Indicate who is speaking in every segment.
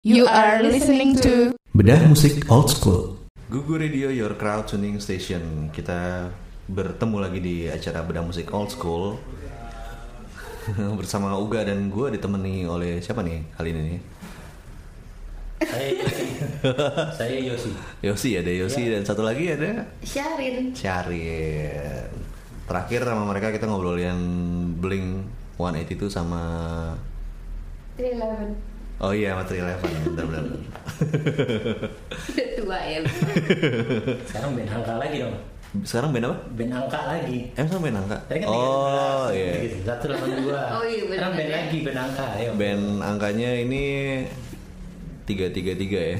Speaker 1: You are listening to
Speaker 2: Bedah musik old school.
Speaker 3: Gugu Radio Your Crowd Tuning Station. Kita bertemu lagi di acara Bedah Musik Old School bersama Uga dan gue ditemani oleh siapa nih kali ini? nih?
Speaker 4: Saya Yosi. Saya Yosi.
Speaker 3: Yosi ada Yosi dan satu lagi ada
Speaker 1: Syarin.
Speaker 3: Syarin. Terakhir sama mereka kita ngobrolin Blink 182 sama
Speaker 1: 311.
Speaker 3: Oh iya, Materi Eleven, bentar, bentar, bentar.
Speaker 1: Udah tua ya.
Speaker 4: Sekarang band angka lagi dong.
Speaker 3: Sekarang band apa?
Speaker 4: Band angka lagi.
Speaker 3: Em sama band angka?
Speaker 4: Tadi kan Gitu.
Speaker 3: Oh iya.
Speaker 4: Satu delapan dua.
Speaker 1: Oh, iya, benar.
Speaker 4: Sekarang band lagi band angka. Ayo.
Speaker 3: Band angkanya ini tiga tiga tiga ya.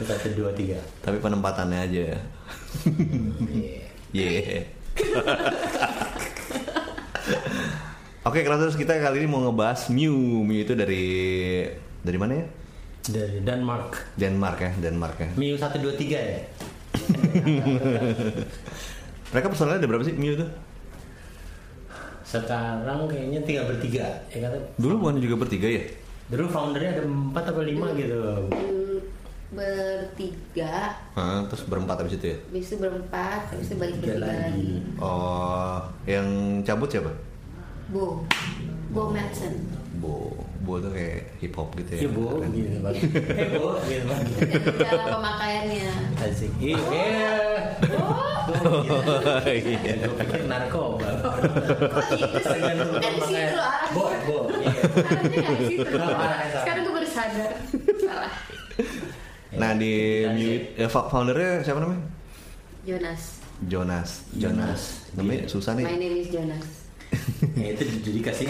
Speaker 4: Satu dua tiga.
Speaker 3: tapi penempatannya aja Hmm.
Speaker 4: Iya.
Speaker 3: yeah. Oke, terus kita kali ini mau ngebahas Mew. Mew itu dari dari mana ya?
Speaker 4: Dari Denmark.
Speaker 3: Denmark ya, Denmark ya.
Speaker 4: Miu satu dua tiga ya.
Speaker 3: Mereka personalnya ada berapa sih Mew itu?
Speaker 4: Sekarang kayaknya tiga bertiga. Ya kata.
Speaker 3: Dulu bukan juga bertiga ya?
Speaker 4: Dulu foundernya ada empat atau lima gitu.
Speaker 1: Bertiga,
Speaker 3: Hah, terus berempat abis itu ya?
Speaker 1: habis itu berempat, habis itu balik
Speaker 4: Tiga
Speaker 1: bertiga lagi.
Speaker 4: lagi.
Speaker 3: Oh, yang cabut siapa?
Speaker 1: Bo. Bo Manson.
Speaker 3: Bo, Bo tuh kayak hip hop gitu ya?
Speaker 4: Iya bu,
Speaker 3: Keren.
Speaker 4: gitu Bang. Eh bu, gitu Bang.
Speaker 1: Cara pemakaiannya.
Speaker 4: Asik. Iya. Oh,
Speaker 3: Iya.
Speaker 4: Gue pikir narkoba.
Speaker 1: Kok gitu sih? Dari situ loh arah.
Speaker 4: Bo, bo. iya.
Speaker 1: Arahnya dari situ.
Speaker 4: Nah, arahnya salah.
Speaker 1: Sekarang gue baru sadar. Salah.
Speaker 3: Nah di
Speaker 4: Dan
Speaker 3: Mew, eh, foundernya siapa namanya?
Speaker 1: Jonas.
Speaker 3: Jonas.
Speaker 4: Jonas.
Speaker 3: Namanya
Speaker 4: Iya.
Speaker 3: susah nih.
Speaker 1: My name is Jonas.
Speaker 4: Ya itu jadi kasih.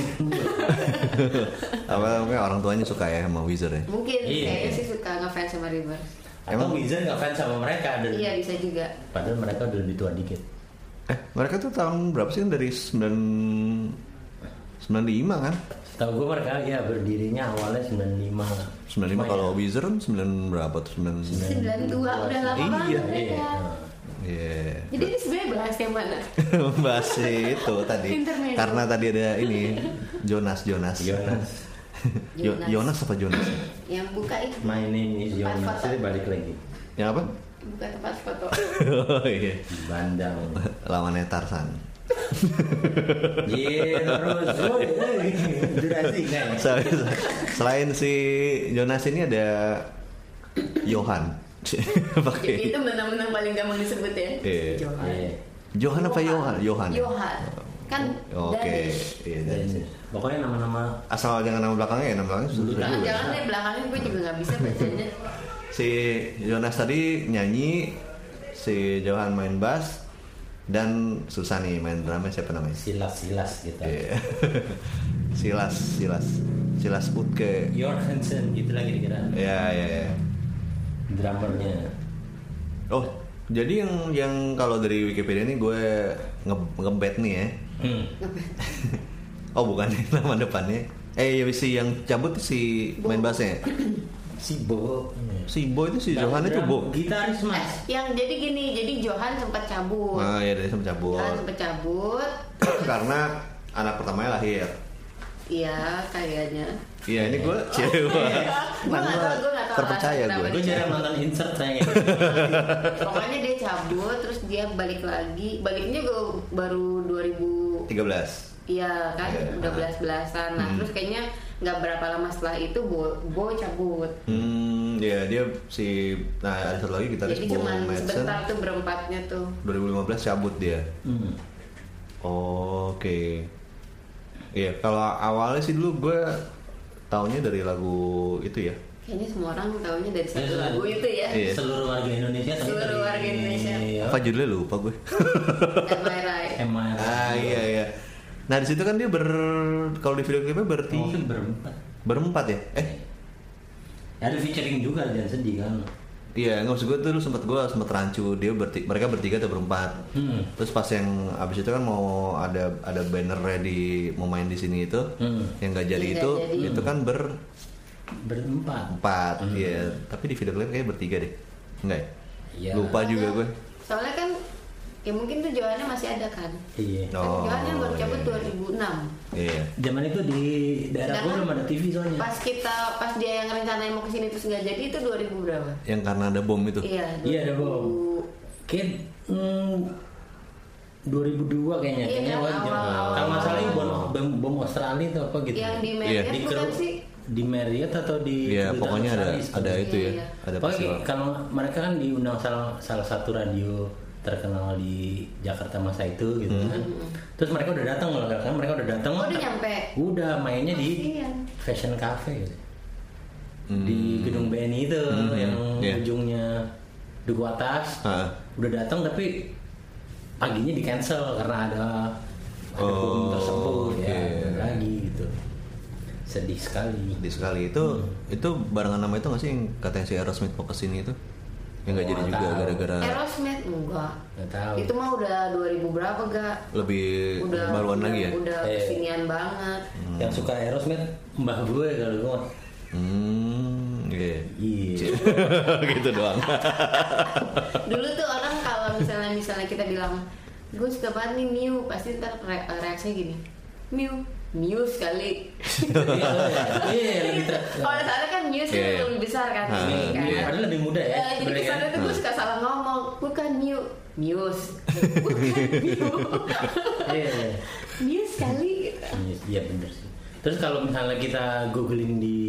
Speaker 3: apa mungkin orang tuanya suka ya sama Wizard ya
Speaker 1: Mungkin
Speaker 4: Iya.
Speaker 1: kayaknya sih suka ngefans sama River.
Speaker 4: Emang Wizard nggak fans sama mereka dan
Speaker 1: Iya bisa juga.
Speaker 4: padahal mereka udah lebih tua dikit.
Speaker 3: eh mereka tuh tahun berapa sih dari 9 95 kan
Speaker 4: Tahu gue mereka ya berdirinya awalnya 95 lah.
Speaker 3: 95 kalau Wizard kan 9 berapa tuh 9
Speaker 1: Sembilan dua udah lama
Speaker 3: Iya,
Speaker 1: banget
Speaker 4: Iya.
Speaker 1: mereka.
Speaker 3: Iya
Speaker 1: Jadi ini sebenarnya bahas yang mana?
Speaker 3: bahas itu tadi
Speaker 1: Intermezzo. Iya.
Speaker 3: karena tadi ada ini Jonas Jonas
Speaker 4: Jonas.
Speaker 3: Jo-
Speaker 1: Jonas.
Speaker 3: Jonas apa Jonas
Speaker 1: Yang buka itu
Speaker 4: My name is Jonas. Jadi balik lagi.
Speaker 3: yang apa
Speaker 1: buka tempat foto.
Speaker 3: oh, iya
Speaker 4: Bandang.
Speaker 3: lawannya Tarsan
Speaker 4: Iya terus. Woi, woi. Durasi nggak ya?
Speaker 3: Sel- selain si Jonas ini ada Johan
Speaker 1: Jadi
Speaker 3: pakai
Speaker 1: itu menang-menang paling gampang disebut ya.
Speaker 3: Iya.
Speaker 1: Johan.
Speaker 4: Iya.
Speaker 3: Johan apa Johan Johan ya?
Speaker 1: Johan. Kan
Speaker 3: Oke, iya,
Speaker 4: Dan
Speaker 3: dari-
Speaker 4: Pokoknya nama-nama
Speaker 3: Asal jangan nama belakangnya ya, nama belakangnya susah juga.
Speaker 1: Jangan jangan deh belakangnya gue juga nggak bisa bacanya.
Speaker 3: Si Jonas tadi nyanyi, si Johan main bass, dan Susah nih main drumnya siapa namanya?
Speaker 4: silas-silas gitu.
Speaker 3: Iya. Silas, Silas, Silas Putke.
Speaker 4: Your Hansen gitu lagi kira-kira
Speaker 3: Ya, ya, ya.
Speaker 4: drummernya.
Speaker 3: Oh, jadi yang yang kalau dari Wikipedia ini gue nge ngebet nih ya.
Speaker 4: Hmm.
Speaker 3: Oh, bukan nama depannya. Eh, ya, si yang cabut si main bassnya. ya?
Speaker 4: Si Bo.
Speaker 3: Si Bo itu si Johan itu
Speaker 4: Drum-
Speaker 3: Bo.
Speaker 4: Iya. Gitaris
Speaker 1: Eh,
Speaker 4: mas.
Speaker 1: yang jadi gini, jadi Johan sempat cabut.
Speaker 3: Ah, ya dari sama
Speaker 1: Johan
Speaker 3: cabut.
Speaker 1: sempat cabut.
Speaker 3: karena anak pertamanya lahir.
Speaker 1: Iya, kayaknya.
Speaker 3: Iya ini gue cewa.
Speaker 1: Gua nggak tahu, gua nggak tahu
Speaker 3: terpercaya
Speaker 1: alasan
Speaker 3: gue.
Speaker 1: kenapa
Speaker 4: Gue jarang nonton insert saya.
Speaker 1: Pokoknya dia cabut, terus dia balik lagi. Baliknya juga baru 2000
Speaker 3: 13
Speaker 1: Iya kan
Speaker 3: Iya.
Speaker 1: udah belas belasan. Nah
Speaker 3: Hmm.
Speaker 1: terus kayaknya nggak berapa lama setelah itu Bo, Bo cabut.
Speaker 3: Hmm, ya dia si nah ada satu lagi gitaris
Speaker 1: Jadi
Speaker 3: Bo
Speaker 1: cuma
Speaker 3: Madsen
Speaker 1: sebentar tuh berempatnya tuh.
Speaker 3: 2015 cabut dia.
Speaker 4: Hmm.
Speaker 3: Oke. Iya kalau awalnya sih dulu gue taunya dari lagu itu ya.
Speaker 1: Kayaknya semua orang taunya dari satu
Speaker 4: Iya,
Speaker 1: lagu itu ya.
Speaker 3: Iya.
Speaker 4: Seluruh warga Indonesia. tapi
Speaker 1: Seluruh
Speaker 4: dari-
Speaker 1: warga Indonesia.
Speaker 4: Iya.
Speaker 3: Apa judulnya lupa gue.
Speaker 1: Am I right?
Speaker 4: Am I right?
Speaker 3: ah iya iya. Nah di situ kan dia ber kalau di video klipnya bertiga
Speaker 4: Mungkin berempat.
Speaker 3: berempat ya? Eh
Speaker 4: Ada featuring juga jangan sedih kan.
Speaker 3: Iya, nggak maksud gue tuh sempat gue sempat rancu dia berti, mereka bertiga atau berempat.
Speaker 4: Hmm.
Speaker 3: Terus pas yang abis itu kan mau ada ada bannernya di mau main di sini itu,
Speaker 4: Hmm.
Speaker 3: yang nggak jadi
Speaker 1: Yang nggak
Speaker 3: itu
Speaker 1: jadi.
Speaker 3: itu kan berempat.
Speaker 4: Berempat. Hmm.
Speaker 3: Iya, tapi di video klip kayak bertiga deh, enggak ya?
Speaker 4: Iya.
Speaker 3: Lupa juga gue.
Speaker 1: Soalnya kan ya mungkin tuh Johanna masih ada kan
Speaker 4: Iya.
Speaker 1: Kan
Speaker 3: Oh,
Speaker 1: Johanna baru
Speaker 3: iya,
Speaker 1: cabut
Speaker 3: iya.
Speaker 1: 2006
Speaker 3: Iya.
Speaker 4: Zaman itu di daerah gue
Speaker 1: Sedangkan
Speaker 4: belum ada TV soalnya.
Speaker 1: pas kita pas dia yang rencananya mau kesini terus nggak jadi itu 2000 berapa
Speaker 3: Yang karena ada bom itu.
Speaker 1: iya
Speaker 4: Iya, ada bom. Kid hmm, 2002 kayaknya.
Speaker 1: Iya,
Speaker 4: kayaknya
Speaker 1: yang
Speaker 4: awal zaman.
Speaker 1: awal-
Speaker 4: Kalau nggak salah
Speaker 1: awal.
Speaker 4: ini bom, bom, bom Australia atau apa gitu.
Speaker 1: yang di
Speaker 3: Iya.
Speaker 1: Marriott
Speaker 4: di
Speaker 1: bukan
Speaker 4: Ker-
Speaker 1: sih
Speaker 4: di Marriott atau di
Speaker 3: Iya,
Speaker 4: Kedutaan
Speaker 3: pokoknya ada
Speaker 4: Australia
Speaker 3: ada
Speaker 4: sebelumnya.
Speaker 3: itu ya.
Speaker 1: Iya.
Speaker 3: Ada
Speaker 4: Pokoknya
Speaker 3: peristiwa.
Speaker 4: kalau mereka kan diundang salah salah satu radio terkenal di Jakarta masa itu gitu
Speaker 3: Hmm.
Speaker 4: kan. Terus mereka udah datang kalau nggak salah mereka udah datang.
Speaker 1: Oh, udah nyampe.
Speaker 4: Udah mainnya di
Speaker 1: Kasian.
Speaker 4: Fashion Cafe gitu. Di gedung BNI itu yang
Speaker 3: Hmm. Iya.
Speaker 4: ujungnya duku atas.
Speaker 3: Ah.
Speaker 4: Udah datang tapi paginya di cancel karena ada ada
Speaker 3: Oh,
Speaker 4: bom tersebut ya
Speaker 3: oke.
Speaker 4: lagi gitu. Sedih sekali.
Speaker 3: Di sekali itu
Speaker 4: Hmm.
Speaker 3: itu barengan nama itu nggak sih yang katanya si Aerosmith mau kesini itu? Yang nggak
Speaker 4: Oh,
Speaker 3: jadi juga
Speaker 4: tahu.
Speaker 3: gara-gara
Speaker 1: Aerosmith enggak
Speaker 4: Nggak tahu.
Speaker 1: itu mah udah 2000 berapa gak
Speaker 3: lebih
Speaker 1: udah
Speaker 3: baruan
Speaker 1: udah,
Speaker 3: lagi ya.
Speaker 1: udah
Speaker 4: Eh.
Speaker 1: kesinian banget
Speaker 4: Yang suka Aerosmith mbah gue kalau gue. mah.
Speaker 3: Hmm, iya.
Speaker 4: Iya.
Speaker 3: gitu doang.
Speaker 1: Eh, dulu tuh orang kalau misalnya misalnya kita bilang gue suka banget nih Miu pasti ntar re- reaksinya gini Miu Miu sekali
Speaker 4: Iya, Iya, lebih ter.
Speaker 1: kalau di sana kan Miu sih
Speaker 3: Iya, iya.
Speaker 1: lebih besar kan
Speaker 3: Ah,
Speaker 1: ini kan
Speaker 3: iya. Ah.
Speaker 4: Padahal lebih muda ya.
Speaker 1: Eh, jadi
Speaker 4: sebenarnya
Speaker 1: kesannya
Speaker 4: kan.
Speaker 1: tuh gue suka salah ngomong bukan Miu Mius bukan Miu
Speaker 4: Iya, iya.
Speaker 1: Miu sekali gitu.
Speaker 4: Iya, Iya bener sih. Terus kalau misalnya kita googling di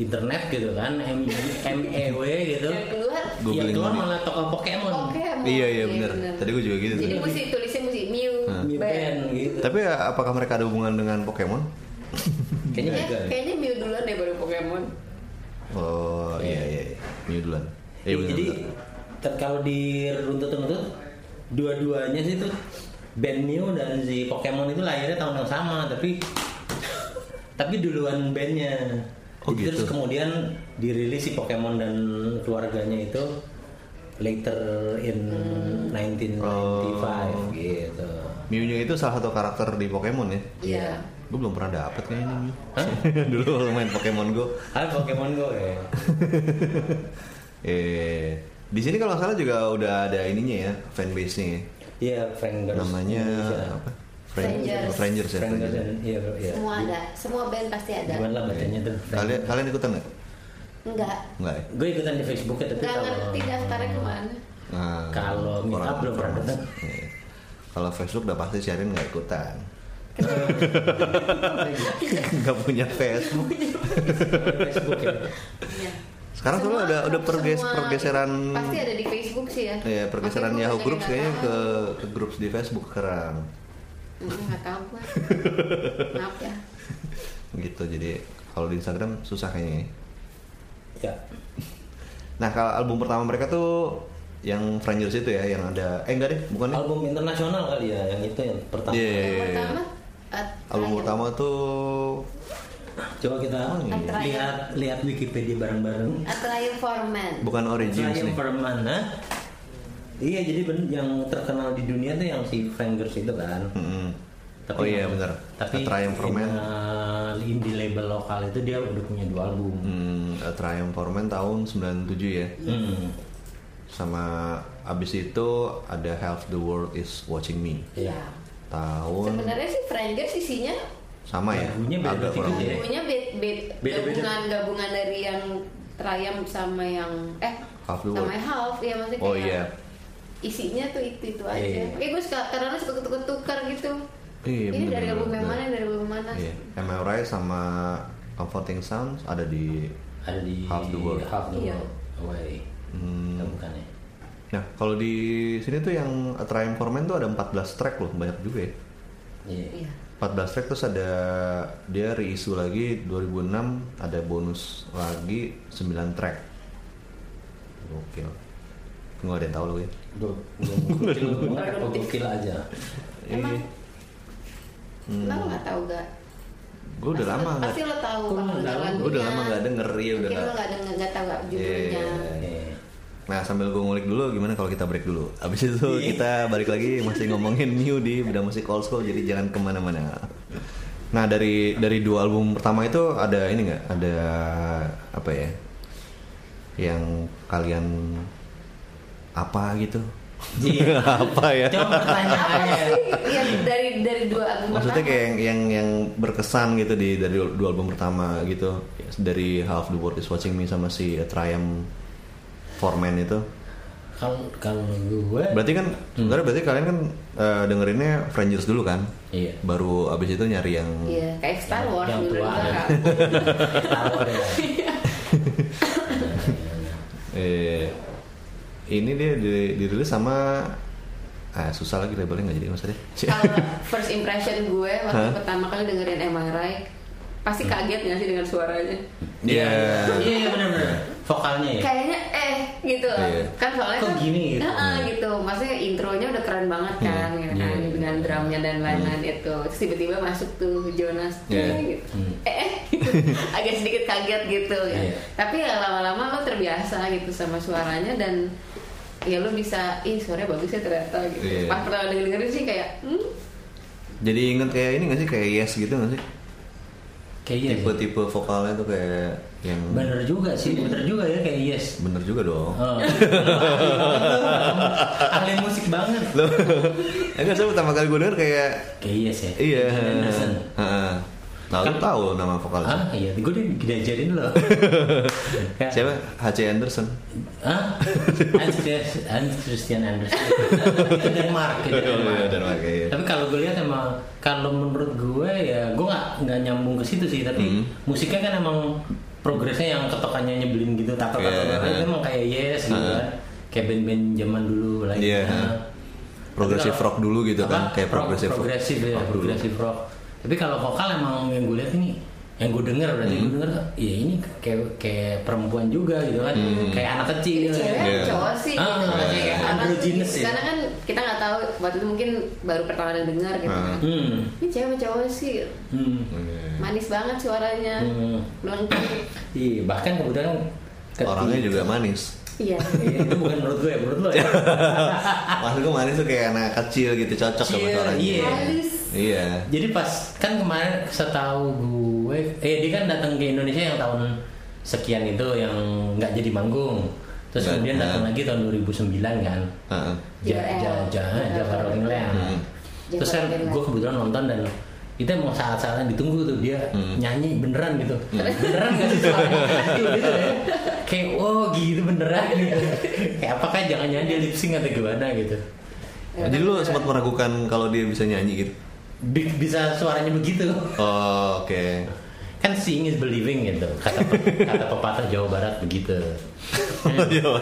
Speaker 4: internet gitu kan, M MEW gitu.
Speaker 1: yang keluar
Speaker 4: Yang
Speaker 3: Googling
Speaker 4: keluar
Speaker 3: lagi.
Speaker 4: malah tokoh Pokemon.
Speaker 1: Iya, oke mau.
Speaker 3: iya iya benar. Tadi Ah. gue juga gitu.
Speaker 1: jadi
Speaker 3: tuh.
Speaker 1: mesti tulisnya mesti Miu
Speaker 4: New
Speaker 1: Ben
Speaker 4: Band gitu.
Speaker 3: Tapi ya, apakah mereka ada hubungan dengan Pokemon?
Speaker 4: Kayaknya
Speaker 1: Kayaknya-
Speaker 4: juga.
Speaker 1: kayaknya Miu duluan deh baru Pokemon
Speaker 3: Oh iya iya. iya. New duluan. Iya benar.
Speaker 4: Jadi ter- kalau diruntut-runtut dua-duanya sih tuh band Mew dan si Pokemon itu lahirnya tahun yang sama tapi tapi duluan bandnya.
Speaker 3: Oh,
Speaker 4: Jadi Terus
Speaker 3: gitu.
Speaker 4: kemudian dirilis si Pokemon dan keluarganya itu later in 1995
Speaker 3: Oh.
Speaker 4: gitu.
Speaker 3: Mew-nya itu salah satu karakter di Pokemon ya.
Speaker 1: Iya.
Speaker 3: Gue belum pernah dapet kayaknya Mew. Dulu kalau main Pokemon Go.
Speaker 4: Ah Pokemon Go ya.
Speaker 3: Eh, di sini kalau nggak salah juga udah ada ininya ya, fanbase-nya ya.
Speaker 4: Iya, Frank Girls
Speaker 3: Namanya
Speaker 4: Indonesia.
Speaker 3: apa? Fran-
Speaker 1: Strangers.
Speaker 3: Strangers ya.
Speaker 4: Frank Girls
Speaker 3: Strangers.
Speaker 4: Indonesia, Iya, iya.
Speaker 1: semua ada semua band pasti ada
Speaker 4: Gimana lah bacanya tuh? Frank?
Speaker 3: Kalian kalian ikutan nggak?
Speaker 1: enggak
Speaker 3: Nggak ya?
Speaker 4: Gue ikutan di Facebook ya tapi
Speaker 1: Gak
Speaker 4: kalau
Speaker 1: ngerti daftarnya kemana
Speaker 3: Nah,
Speaker 4: Kalau meet
Speaker 3: kurang
Speaker 4: up belum pernah
Speaker 3: informasi.
Speaker 4: datang.
Speaker 3: Iya. Kalau Facebook udah pasti Sherin nggak ikutan.
Speaker 4: Eh.
Speaker 3: nggak punya Facebook.
Speaker 4: Facebook ya.
Speaker 1: Iya.
Speaker 3: Sekarang soalnya
Speaker 1: Semua-
Speaker 3: udah udah perges
Speaker 1: semua- gitu.
Speaker 3: pergeseran
Speaker 1: Pasti ada di Facebook sih ya
Speaker 3: ya pergeseran
Speaker 1: Tapi gua
Speaker 3: Yahoo
Speaker 1: banyak
Speaker 3: Groups
Speaker 1: yang kan.
Speaker 3: kayaknya
Speaker 1: nggak
Speaker 3: ke
Speaker 1: tahu.
Speaker 3: ke groups di Facebook sekarang.
Speaker 1: Mm, nggak tahu gue Maaf ya
Speaker 3: Gitu jadi kalau di Instagram susah kayaknya. ya.
Speaker 4: Ya.
Speaker 3: Nah kalau album pertama mereka tuh yang Frangers itu ya yang ada eh enggak deh bukan ya?
Speaker 4: Album internasional kali ya yang itu yang pertama.
Speaker 3: Iya, iya,
Speaker 1: Yang
Speaker 3: iya, iya.
Speaker 1: pertama at-
Speaker 3: Album
Speaker 1: terakhir.
Speaker 3: pertama tuh
Speaker 4: Coba kita
Speaker 1: iya.
Speaker 4: lihat lihat Wikipedia bareng-bareng.
Speaker 1: At Ryan Eh, Foreman
Speaker 3: bukan Origins
Speaker 4: Yang
Speaker 3: nih.
Speaker 4: permana. Iya jadi ben- yang terkenal di dunia tuh yang si Fangers itu kan.
Speaker 3: Mm-mm. oh iya
Speaker 4: yang-
Speaker 3: benar. A
Speaker 4: Tapi
Speaker 3: Triumph for Man.
Speaker 4: final indie label lokal itu dia udah punya dua album.
Speaker 3: Hmm, A Triumph for Man tahun 97 ya.
Speaker 4: Hmm.
Speaker 3: Sama abis itu ada Half the World is Watching Me.
Speaker 1: Iya
Speaker 3: Tahun
Speaker 1: Sebenarnya sih Frangers isinya
Speaker 3: sama ya.
Speaker 4: Lagunya beda
Speaker 3: Agak
Speaker 4: tiga
Speaker 3: kurang.
Speaker 4: ya.
Speaker 1: Lagunya bed, bed,
Speaker 4: Beda-beda.
Speaker 1: gabungan, gabungan dari yang Triumph sama yang Eh
Speaker 3: Half the
Speaker 1: sama
Speaker 3: World.
Speaker 1: yang Half ya maksudnya
Speaker 3: Oh
Speaker 1: kayak
Speaker 3: iya.
Speaker 1: Isinya tuh itu-itu aja
Speaker 4: Iya.
Speaker 1: Kayak gue suka, karena suka ketukar-tukar gitu
Speaker 3: Iya,
Speaker 1: Ini dari
Speaker 3: bener-bener.
Speaker 1: album yang mana, dari album yang mana
Speaker 3: Iya. Am I Right sama Comforting Sounds ada di
Speaker 4: Ada di
Speaker 3: Half the World.
Speaker 4: Half the
Speaker 1: Iya.
Speaker 4: World. Away.
Speaker 3: Hmm.
Speaker 4: Oh, bukan ya.
Speaker 3: Nah, kalau di sini tuh yang A Triumph for Man tuh ada 14 track loh, banyak juga ya.
Speaker 4: Iya.
Speaker 1: Iya
Speaker 3: 14 track terus ada dia reissue lagi 2006 ada bonus lagi 9 track. Gokil. Nggak ada yang tahu loh ya.
Speaker 4: Belum gokil banget apa gokil aja
Speaker 1: Emang?
Speaker 3: Iya.
Speaker 1: Lo nggak tahu gak?
Speaker 3: Gue Hmm. udah lama nggak.
Speaker 1: Pasti lo tahu
Speaker 4: Gua nggak tahu.
Speaker 1: lagunya.
Speaker 3: Gue udah lama nggak denger ya udah.
Speaker 1: Mungkin lo
Speaker 3: nggak-
Speaker 1: nggak denger, nggak tahu nggak judulnya
Speaker 3: Iya.
Speaker 4: Oke.
Speaker 3: Nah sambil gue ngulik dulu gimana kalau kita break dulu Abis itu
Speaker 4: Iya.
Speaker 3: kita balik lagi masih ngomongin new di bidang musik old school Jadi jangan kemana-mana Nah dari dari dua album pertama itu ada ini nggak Ada apa ya Yang kalian apa gitu
Speaker 4: Iya.
Speaker 3: apa ya?
Speaker 4: Coba pertanyaannya.
Speaker 1: Iya dari dari dua album
Speaker 3: Maksudnya
Speaker 1: pertama.
Speaker 3: kayak yang, yang yang berkesan gitu di dari dua album pertama gitu dari Half the World is Watching Me sama si Triumph Foreman itu.
Speaker 4: Kalau kalau gue
Speaker 3: Berarti kan
Speaker 4: Hmm.
Speaker 3: sebenarnya berarti kalian kan eh, dengerinnya Frangers dulu kan?
Speaker 4: Iya.
Speaker 3: Baru abis itu nyari yang
Speaker 1: Iya, kayak Star Wars
Speaker 4: Yang
Speaker 1: dulu
Speaker 4: tua. Iya.
Speaker 1: juga.
Speaker 4: Tahu deh.
Speaker 3: eh, ini dia di- dirilis sama ah, susah lagi labelnya nggak jadi maksudnya.
Speaker 4: Iya.
Speaker 1: Kalau first impression gue waktu
Speaker 3: Hah?
Speaker 1: pertama kali dengerin MRI,
Speaker 4: Hmm.
Speaker 1: pasti kaget nggak sih dengan suaranya?
Speaker 3: Iya.
Speaker 4: Iya iya benar-benar. Vokalnya ya.
Speaker 1: Kayaknya eh gitu loh.
Speaker 3: Iya.
Speaker 1: Kan soalnya
Speaker 4: Kok
Speaker 1: kan
Speaker 4: gini gitu?
Speaker 1: Nah, gitu. Maksudnya intronya udah keren banget kan gitu kan
Speaker 4: Iya.
Speaker 1: dengan drumnya dan lain-lain itu. Terus tiba-tiba masuk tuh Jonas
Speaker 3: Iya.
Speaker 1: eh, gitu.
Speaker 4: Hmm.
Speaker 1: Eh eh, gitu. agak sedikit kaget gitu ya.
Speaker 4: Iya.
Speaker 1: Tapi ya lama-lama lo terbiasa gitu sama suaranya dan ya lo bisa ih suaranya bagus ya ternyata gitu.
Speaker 3: Iya.
Speaker 1: Pas pertama dengerin sih kayak hmm
Speaker 3: Jadi inget kayak ini nggak sih kayak Yes gitu nggak sih?
Speaker 4: Kayaknya sih.
Speaker 3: Tipe-tipe vokalnya tuh kayak yang
Speaker 4: Iya, Bener juga sih, bener juga ya kayak yes.
Speaker 3: bener juga dong.
Speaker 4: Oh. Ahli musik banget.
Speaker 3: Loh, enggak saya pertama kali gue denger kayak
Speaker 4: Kayak yes ya.
Speaker 3: iya.
Speaker 4: Ian Anderson.
Speaker 3: Heeh. Nah, lu
Speaker 4: Kan-
Speaker 3: tahu nama vokalis.
Speaker 4: Ah iya, gue udah diajarin loh. Kayak-
Speaker 3: Siapa? H.C. Anderson.
Speaker 4: Hah? Hans Christian, Hans Christian Andersen. itu Denmark, itu
Speaker 3: Oh,
Speaker 4: Denmark.
Speaker 3: iya, Denmark, iya, iya.
Speaker 4: Tapi kalau gue lihat emang kalau menurut gue ya gue nggak nggak nyambung ke situ sih.
Speaker 3: Hmm.
Speaker 4: Tapi musiknya kan emang progresnya yang ketokannya nyebelin gitu, tak tak
Speaker 3: Iya,
Speaker 4: itu
Speaker 3: iya.
Speaker 4: emang kayak yes gitu
Speaker 3: Iya.
Speaker 4: kan. Kayak band-band zaman dulu uh, lah.
Speaker 3: Iya, iya. Progressive rock dulu gitu kan, kayak progressive rock. Oh,
Speaker 4: progresif ya,
Speaker 3: rock dulu.
Speaker 4: progresif rock. Tapi kalau vokal emang yang gue lihat ini yang gue denger berarti gue
Speaker 3: Hmm.
Speaker 4: denger ya ini kayak kayak perempuan juga gitu kan kayak anak kecil gitu.
Speaker 1: cewek
Speaker 3: Hmm.
Speaker 1: kan
Speaker 3: Iya.
Speaker 1: cowok sih
Speaker 4: Ah,
Speaker 1: gitu
Speaker 4: iya.
Speaker 1: Kayak anak-
Speaker 4: Androgynous ya.
Speaker 1: karena kan kita nggak tahu waktu itu mungkin baru pertama kali dengar gitu
Speaker 3: Ah.
Speaker 1: kan
Speaker 4: Hmm.
Speaker 1: ini cewek sama cowok sih
Speaker 4: Hmm.
Speaker 1: manis banget suaranya
Speaker 4: Hmm.
Speaker 1: melengkung
Speaker 4: Iya, bahkan kebetulan ketika-
Speaker 3: Orangnya juga manis.
Speaker 1: iya
Speaker 4: Iya, itu bukan menurut gue, menurut lo ya.
Speaker 3: Maksud gue manis tuh kayak anak kecil gitu, cocok sama
Speaker 4: Kecil,
Speaker 3: suaranya.
Speaker 4: iya.
Speaker 1: Halus.
Speaker 3: Iya.
Speaker 4: Jadi pas kan kemarin setahu gue, eh dia kan datang ke Indonesia yang tahun sekian itu yang nggak jadi manggung. Terus
Speaker 3: Nggak,
Speaker 4: kemudian datang
Speaker 3: nah.
Speaker 4: lagi tahun 2009 kan.
Speaker 3: Heeh.
Speaker 4: Ja
Speaker 1: JL.
Speaker 4: ja ja Java Rolling Land.
Speaker 3: Hmm.
Speaker 4: Terus
Speaker 1: Java
Speaker 4: kan
Speaker 1: Rolling Land.
Speaker 4: gue kebetulan nonton dan itu emang saat-saatnya ditunggu tuh dia
Speaker 3: Hmm.
Speaker 4: nyanyi beneran gitu beneran gak sih suaranya Gitu, gitu ya. kayak oh gitu beneran gitu kayak apakah jangan jangan dia lip sync atau gimana gitu
Speaker 1: Ya,
Speaker 3: Jadi lu sempat meragukan kalau dia bisa nyanyi gitu.
Speaker 4: Bi- bisa suaranya begitu
Speaker 3: Oh, oke.
Speaker 4: kan seeing is believing gitu kata pe- kata pepatah Jawa Barat begitu
Speaker 3: Iya.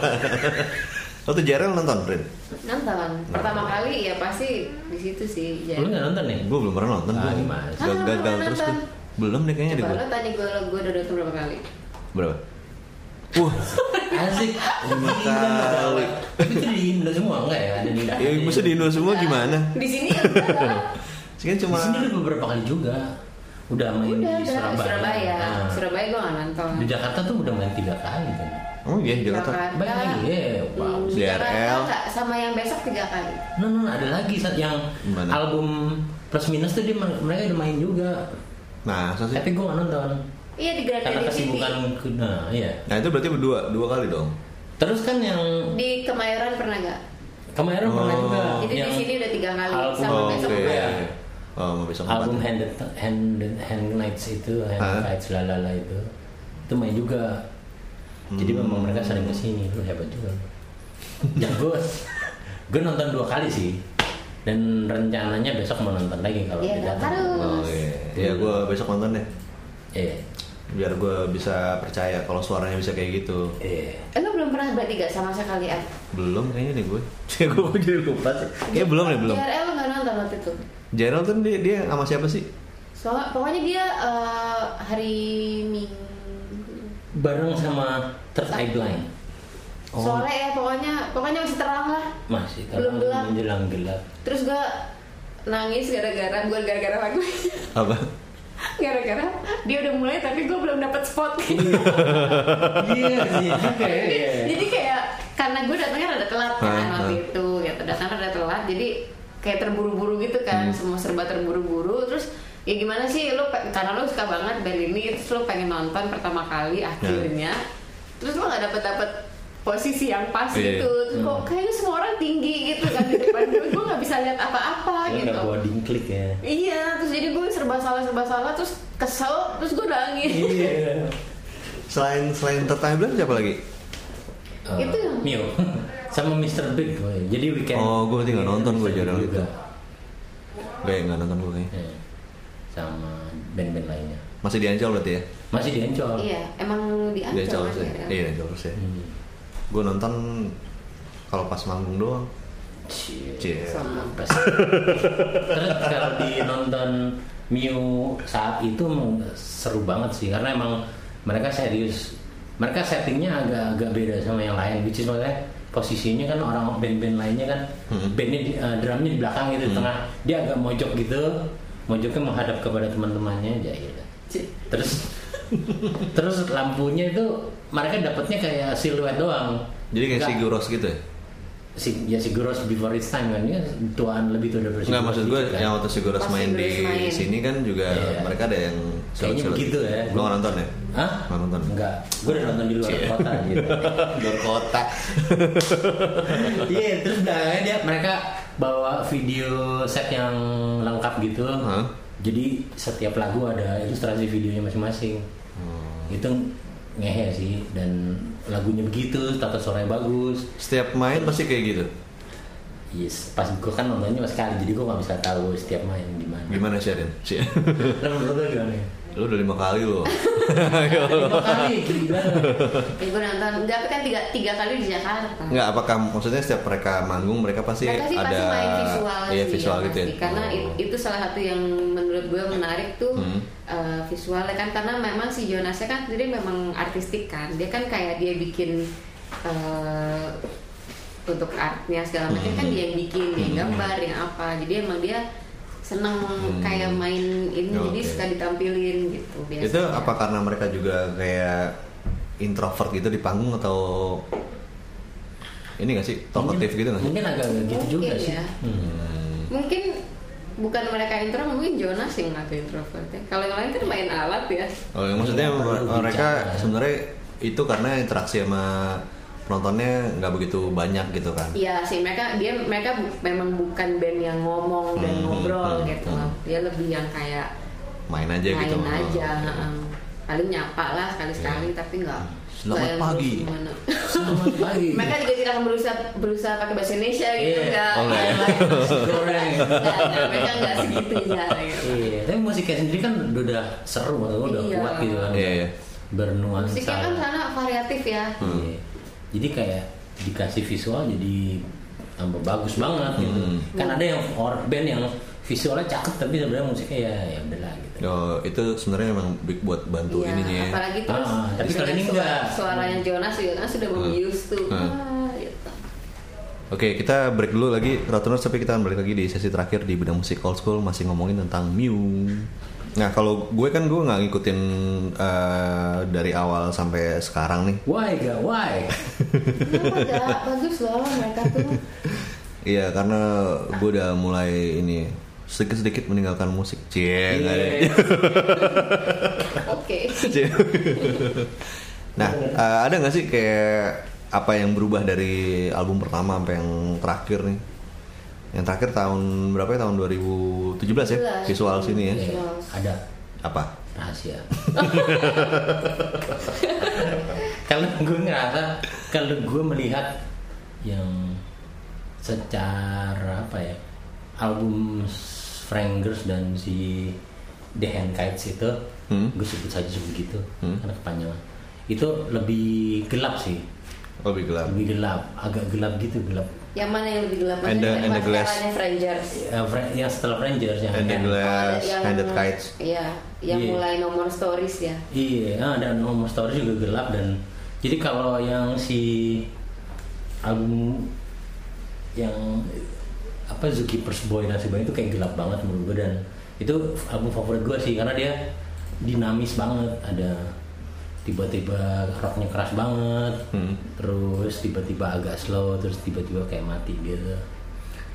Speaker 3: Lo tuh jarang nonton, Prin?
Speaker 1: nonton kan. pertama
Speaker 3: Nah.
Speaker 1: kali ya pasti di situ sih ya.
Speaker 4: lu nggak nonton nih
Speaker 3: Gue belum pernah nonton.
Speaker 4: Ah,
Speaker 3: gua.
Speaker 4: gimana?
Speaker 3: Gagal,
Speaker 1: Ah,
Speaker 3: gagal
Speaker 1: belum
Speaker 3: terus
Speaker 1: nonton.
Speaker 3: tuh. Belum deh kayaknya di
Speaker 1: coba
Speaker 3: gue.
Speaker 1: lo tanya gue gue udah datang berapa kali
Speaker 3: Berapa? Wah,
Speaker 4: asik kan
Speaker 3: Lima kali.
Speaker 4: tapi itu di Indo semua enggak ya ada di
Speaker 1: Iya,
Speaker 3: ya, mesti di Indo semua gimana?
Speaker 1: di sini ya udah lah.
Speaker 3: Sih kan
Speaker 4: Di
Speaker 3: cuma
Speaker 4: sini udah beberapa kali juga. Udah main
Speaker 1: udah
Speaker 4: di
Speaker 1: udah
Speaker 4: Surabaya.
Speaker 1: Surabaya
Speaker 4: Nah,
Speaker 1: Surabaya gue nggak nonton
Speaker 4: Di Jakarta tuh udah main tiga kali kan.
Speaker 3: Oh iya Jakarta.
Speaker 1: Jakarta
Speaker 4: Iya, wow.
Speaker 1: Hmm, Jakarta
Speaker 3: DRL.
Speaker 1: nggak, sama yang besok tiga kali
Speaker 4: No, no, no, ada lagi Sat, yang
Speaker 3: Mana?
Speaker 4: album plus minus tuh dia ma- mereka udah main juga.
Speaker 3: Nah, so sih.
Speaker 4: Tapi gue gak nonton.
Speaker 1: iya di Grand
Speaker 4: Karena
Speaker 1: Daddy City
Speaker 4: kesibukan ku- nah iya.
Speaker 3: Nah itu berarti berdua dua kali dong.
Speaker 4: Terus kan yang
Speaker 1: di Kemayoran pernah nggak
Speaker 4: kemarin pernah
Speaker 3: Oh.
Speaker 4: juga
Speaker 1: Jadi di
Speaker 4: yang
Speaker 1: sini udah tiga kali,
Speaker 4: album,
Speaker 1: sama
Speaker 3: Oh,
Speaker 1: besok
Speaker 3: oke.
Speaker 4: ya.
Speaker 3: Oh, mau besok
Speaker 4: album
Speaker 3: empat.
Speaker 4: hand hand hand nights itu hand
Speaker 3: Hah?
Speaker 4: nights lalala itu itu main juga jadi
Speaker 3: Hmm.
Speaker 4: memang mereka sering kesini itu hebat juga jago gue nonton dua kali sih dan rencananya besok mau nonton lagi kalau
Speaker 1: Iya,
Speaker 4: dia datang
Speaker 1: harus.
Speaker 3: Oh iya. Ya gue besok nonton deh.
Speaker 4: iya
Speaker 3: Biar gue bisa percaya kalau suaranya bisa kayak gitu.
Speaker 4: iya
Speaker 1: Eh, lo belum pernah berarti gak sama sekali Ad?
Speaker 3: Belum kayaknya deh gue. Ya gue jadi lupa sih. Ya belum deh belum.
Speaker 1: JRL lo gak nonton waktu itu
Speaker 3: Gerald tuh dia, dia sama siapa sih?
Speaker 1: Soalnya pokoknya dia eh, hari Minggu
Speaker 4: bareng sama Third Eye Blind
Speaker 3: Oh.
Speaker 1: sore ya pokoknya pokoknya masih terang lah
Speaker 4: masih
Speaker 1: Belum
Speaker 4: terang
Speaker 1: gelap.
Speaker 4: menjelang gelap
Speaker 1: terus gue nangis gara-gara bukan gara-gara lagu
Speaker 3: Apa?
Speaker 1: gara-gara dia udah mulai tapi gue belum dapat spot
Speaker 4: iya iya juga ya, iya iya.
Speaker 1: jadi kayak karena gue datangnya rada telat kan
Speaker 3: Ah,
Speaker 1: waktu
Speaker 3: ah.
Speaker 1: itu gitu datangnya rada telat jadi kayak terburu-buru gitu kan semua serba terburu-buru terus ya gimana sih lo pe- karena lo suka banget band ini terus lo pengen nonton pertama kali akhirnya terus lo nggak dapet dapet posisi yang pas
Speaker 3: Iya.
Speaker 1: gitu Terus kok kayaknya semua orang tinggi gitu kan di depan gue gue nggak bisa lihat apa-apa
Speaker 4: Lu
Speaker 1: gitu
Speaker 4: nggak boarding klik ya
Speaker 1: iya terus jadi gue serba salah serba salah terus kesel terus gue nangis
Speaker 4: iya
Speaker 3: Selain selain tertanya bulan siapa lagi?
Speaker 4: Eh,
Speaker 1: Itu.
Speaker 4: Mio sama Mr. Big woy. jadi weekend
Speaker 3: Oh, gua tinggal
Speaker 4: Iya,
Speaker 3: nonton, gua
Speaker 4: Mr. Big
Speaker 3: jarang
Speaker 4: juga.
Speaker 3: itu. Gue nggak nonton gue kayaknya.
Speaker 4: Iya. sama band-band lainnya
Speaker 3: Masih di Ancol berarti ya?
Speaker 4: masih di Ancol
Speaker 1: iya emang di
Speaker 3: Di
Speaker 1: ancol
Speaker 3: Ancol terus ya?
Speaker 1: kan, ya?
Speaker 3: Iya, di Ancol terus ya.
Speaker 4: Hmm.
Speaker 3: Gue nonton kalau pas manggung doang.
Speaker 4: Cie.
Speaker 3: Cie.
Speaker 1: Sama.
Speaker 4: Iya. Pas- Terus kalau di nonton Mew saat itu emang seru banget sih karena emang mereka serius. Mereka settingnya agak-agak beda sama yang lain, which is maksudnya posisinya kan orang band-band lainnya kan
Speaker 3: Hmm.
Speaker 4: bandnya di- eh, drumnya di belakang gitu di tengah dia agak mojok gitu mojoknya menghadap kepada teman-temannya aja gitu
Speaker 1: Cih.
Speaker 4: terus terus lampunya itu mereka dapatnya kayak siluet doang
Speaker 3: Jadi kayak
Speaker 4: Nggak-
Speaker 3: si Guros gitu ya?
Speaker 4: si ya si Guros before his time kan dia tuaan lebih tuh daripada si
Speaker 3: Enggak
Speaker 4: Guros
Speaker 3: maksud gue
Speaker 4: gitu kan.
Speaker 3: yang waktu si Guros
Speaker 1: Pas
Speaker 3: main
Speaker 1: si Guros
Speaker 3: di
Speaker 1: main.
Speaker 3: sini kan juga
Speaker 4: Iya.
Speaker 3: mereka ada yang
Speaker 4: Kayaknya
Speaker 3: silat-silat.
Speaker 4: begitu ya.
Speaker 3: Lo nggak nonton ya?
Speaker 4: Hah?
Speaker 3: Nggak nonton.
Speaker 4: Enggak, gue udah nonton di luar
Speaker 3: Cie.
Speaker 4: kota gitu.
Speaker 3: Iya. Luar kota.
Speaker 4: Iya, terus belakangnya dia mereka bawa video set yang lengkap gitu.
Speaker 3: Hah?
Speaker 4: Jadi setiap lagu ada ilustrasi videonya masing-masing. Itu ngehe sih dan lagunya begitu, tata suaranya bagus.
Speaker 3: Setiap main pasti kayak gitu.
Speaker 4: Yes, pas gue kan nontonnya cuma sekali, jadi gue nggak bisa tahu setiap main gimana.
Speaker 3: Gimana Sharin? Cie.
Speaker 4: Lo menurut lo gimana?
Speaker 3: Lu udah lima kali lo.
Speaker 4: Lima kali, gila.
Speaker 1: Ya, gue nonton enggak tapi kan tiga tiga kali di Jakarta
Speaker 3: Enggak, apakah maksudnya setiap mereka manggung mereka pasti
Speaker 1: mereka sih
Speaker 3: ada
Speaker 1: pasti main visual
Speaker 3: iya,
Speaker 1: sih
Speaker 3: visual
Speaker 1: ya,
Speaker 3: gitu ya.
Speaker 1: pasti. karena it-
Speaker 3: Oh.
Speaker 1: itu salah satu yang menurut gue menarik tuh
Speaker 3: Hmm.
Speaker 1: eh, visualnya kan karena memang si Jonasnya kan sendiri memang artistik kan dia kan kayak dia bikin eh, untuk artnya segala macam
Speaker 3: Hmm.
Speaker 1: kan dia yang bikin dia yang gambar yang apa jadi emang dia seneng kayak main ini
Speaker 3: Hmm. Oke.
Speaker 1: jadi suka ditampilin gitu biasanya.
Speaker 3: Itu apa karena mereka juga kayak introvert gitu di panggung atau ini gak sih talkative gitu gak sih?
Speaker 4: Mungkin agak gitu juga
Speaker 1: Mungkin
Speaker 4: sih.
Speaker 1: ya.
Speaker 4: Hmm.
Speaker 1: mungkin bukan mereka intro mungkin Jonas yang ngatur introvertnya kalau yang lain kan main alat ya
Speaker 3: Oh, yang maksudnya
Speaker 4: Nggak perlu
Speaker 1: iya,
Speaker 3: mer- mereka
Speaker 4: bicara.
Speaker 3: sebenarnya itu karena interaksi sama penontonnya nggak begitu banyak gitu kan.
Speaker 1: Iya sih mereka dia mereka bu- memang bukan band yang ngomong dan
Speaker 3: Hmm,
Speaker 1: ngobrol
Speaker 3: hmm,
Speaker 1: gitu
Speaker 3: hmm.
Speaker 1: loh. Dia lebih yang kayak
Speaker 3: Main aja
Speaker 1: main
Speaker 3: gitu.
Speaker 1: aja.
Speaker 3: Oh, oke.
Speaker 1: heeh. Paling nyapa lah sekali-sekali tapi nggak.
Speaker 3: Selamat
Speaker 1: nggak yang
Speaker 3: pagi.
Speaker 1: gimana.
Speaker 4: Selamat pagi.
Speaker 1: mereka juga tidak akan berusaha berusaha pakai bahasa Indonesia gitu
Speaker 4: Iya.
Speaker 1: nggak.
Speaker 3: Oh, nggak ya?
Speaker 1: Nggak,
Speaker 4: Goreng.
Speaker 1: nggak, mereka nggak segitunya. Gitu.
Speaker 4: Iya, tapi musiknya sendiri kan udah seru, maksud gua udah
Speaker 1: Iya.
Speaker 4: kuat gitu kan.
Speaker 3: Iya, iya.
Speaker 4: Bernuansa.
Speaker 1: Musiknya kan sana variatif ya.
Speaker 3: Hmm.
Speaker 4: Iya. Jadi kayak dikasih visual jadi tambah bagus banget gitu.
Speaker 3: Hmm.
Speaker 4: Kan ada yang or band yang visualnya cakep tapi sebenarnya musiknya ya ya udahlah gitu.
Speaker 3: Oh, itu sebenarnya emang big buat bantu
Speaker 1: Iya,
Speaker 3: ininya. ya.
Speaker 1: Apalagi terus
Speaker 4: Ah, tapi kalau ini
Speaker 1: suara-
Speaker 4: nggak.
Speaker 1: Suaranya Jonas juga kan sudah membius tuh.
Speaker 3: Hmm.
Speaker 1: Ah, gitu.
Speaker 3: Oke, kita break dulu lagi Rotuners tapi kita akan balik lagi di sesi terakhir di bidang musik old school masih ngomongin tentang Mew. Nah, kalau gue kan gue nggak ngikutin eh, dari awal sampai sekarang nih.
Speaker 4: Why gak why?
Speaker 1: Kenapa nggak? bagus loh mereka tuh.
Speaker 3: Iya, karena gue udah mulai ini sedikit-sedikit meninggalkan musik. Cie, Ya, nggak ada.
Speaker 4: Iya.
Speaker 1: Oke.
Speaker 3: Cie. nah, eh, ada nggak sih kayak apa yang berubah dari album pertama sampai yang terakhir nih? Yang terakhir tahun berapa ya? Tahun 2017 ya?
Speaker 1: 17.
Speaker 3: Visual sini ya.
Speaker 4: Iya, ada
Speaker 3: Apa?
Speaker 4: rahasia. kalau gue ngerasa kalau gue melihat yang secara apa ya album Frangers dan si The Handkites itu
Speaker 3: Hmm.
Speaker 4: gue sebut saja sebegitu
Speaker 3: Hmm.
Speaker 4: karena kepanjangan itu lebih gelap sih
Speaker 3: Lebih gelap.
Speaker 4: lebih gelap agak gelap gitu gelap
Speaker 1: Yang mana yang lebih gelap?
Speaker 3: And the-
Speaker 1: Maksudnya
Speaker 3: and the
Speaker 1: pas
Speaker 3: glass.
Speaker 1: eranya Frangers.
Speaker 4: Eh, Fra- yang setelah Frangers yang
Speaker 3: And the
Speaker 4: Hand-
Speaker 3: glass,
Speaker 1: Kalau yang-
Speaker 3: handed kites.
Speaker 1: Iya, yang
Speaker 4: Iya.
Speaker 1: mulai nomor stories ya.
Speaker 4: Iya, ah, dan nomor story juga gelap dan jadi kalau yang si album yang apa Zookeeper's Boy dan sebagainya itu kayak gelap banget menurut gue dan itu album favorit gue sih karena dia dinamis banget ada tiba-tiba rocknya keras banget
Speaker 3: Hmm.
Speaker 4: terus tiba-tiba agak slow terus tiba-tiba kayak mati gitu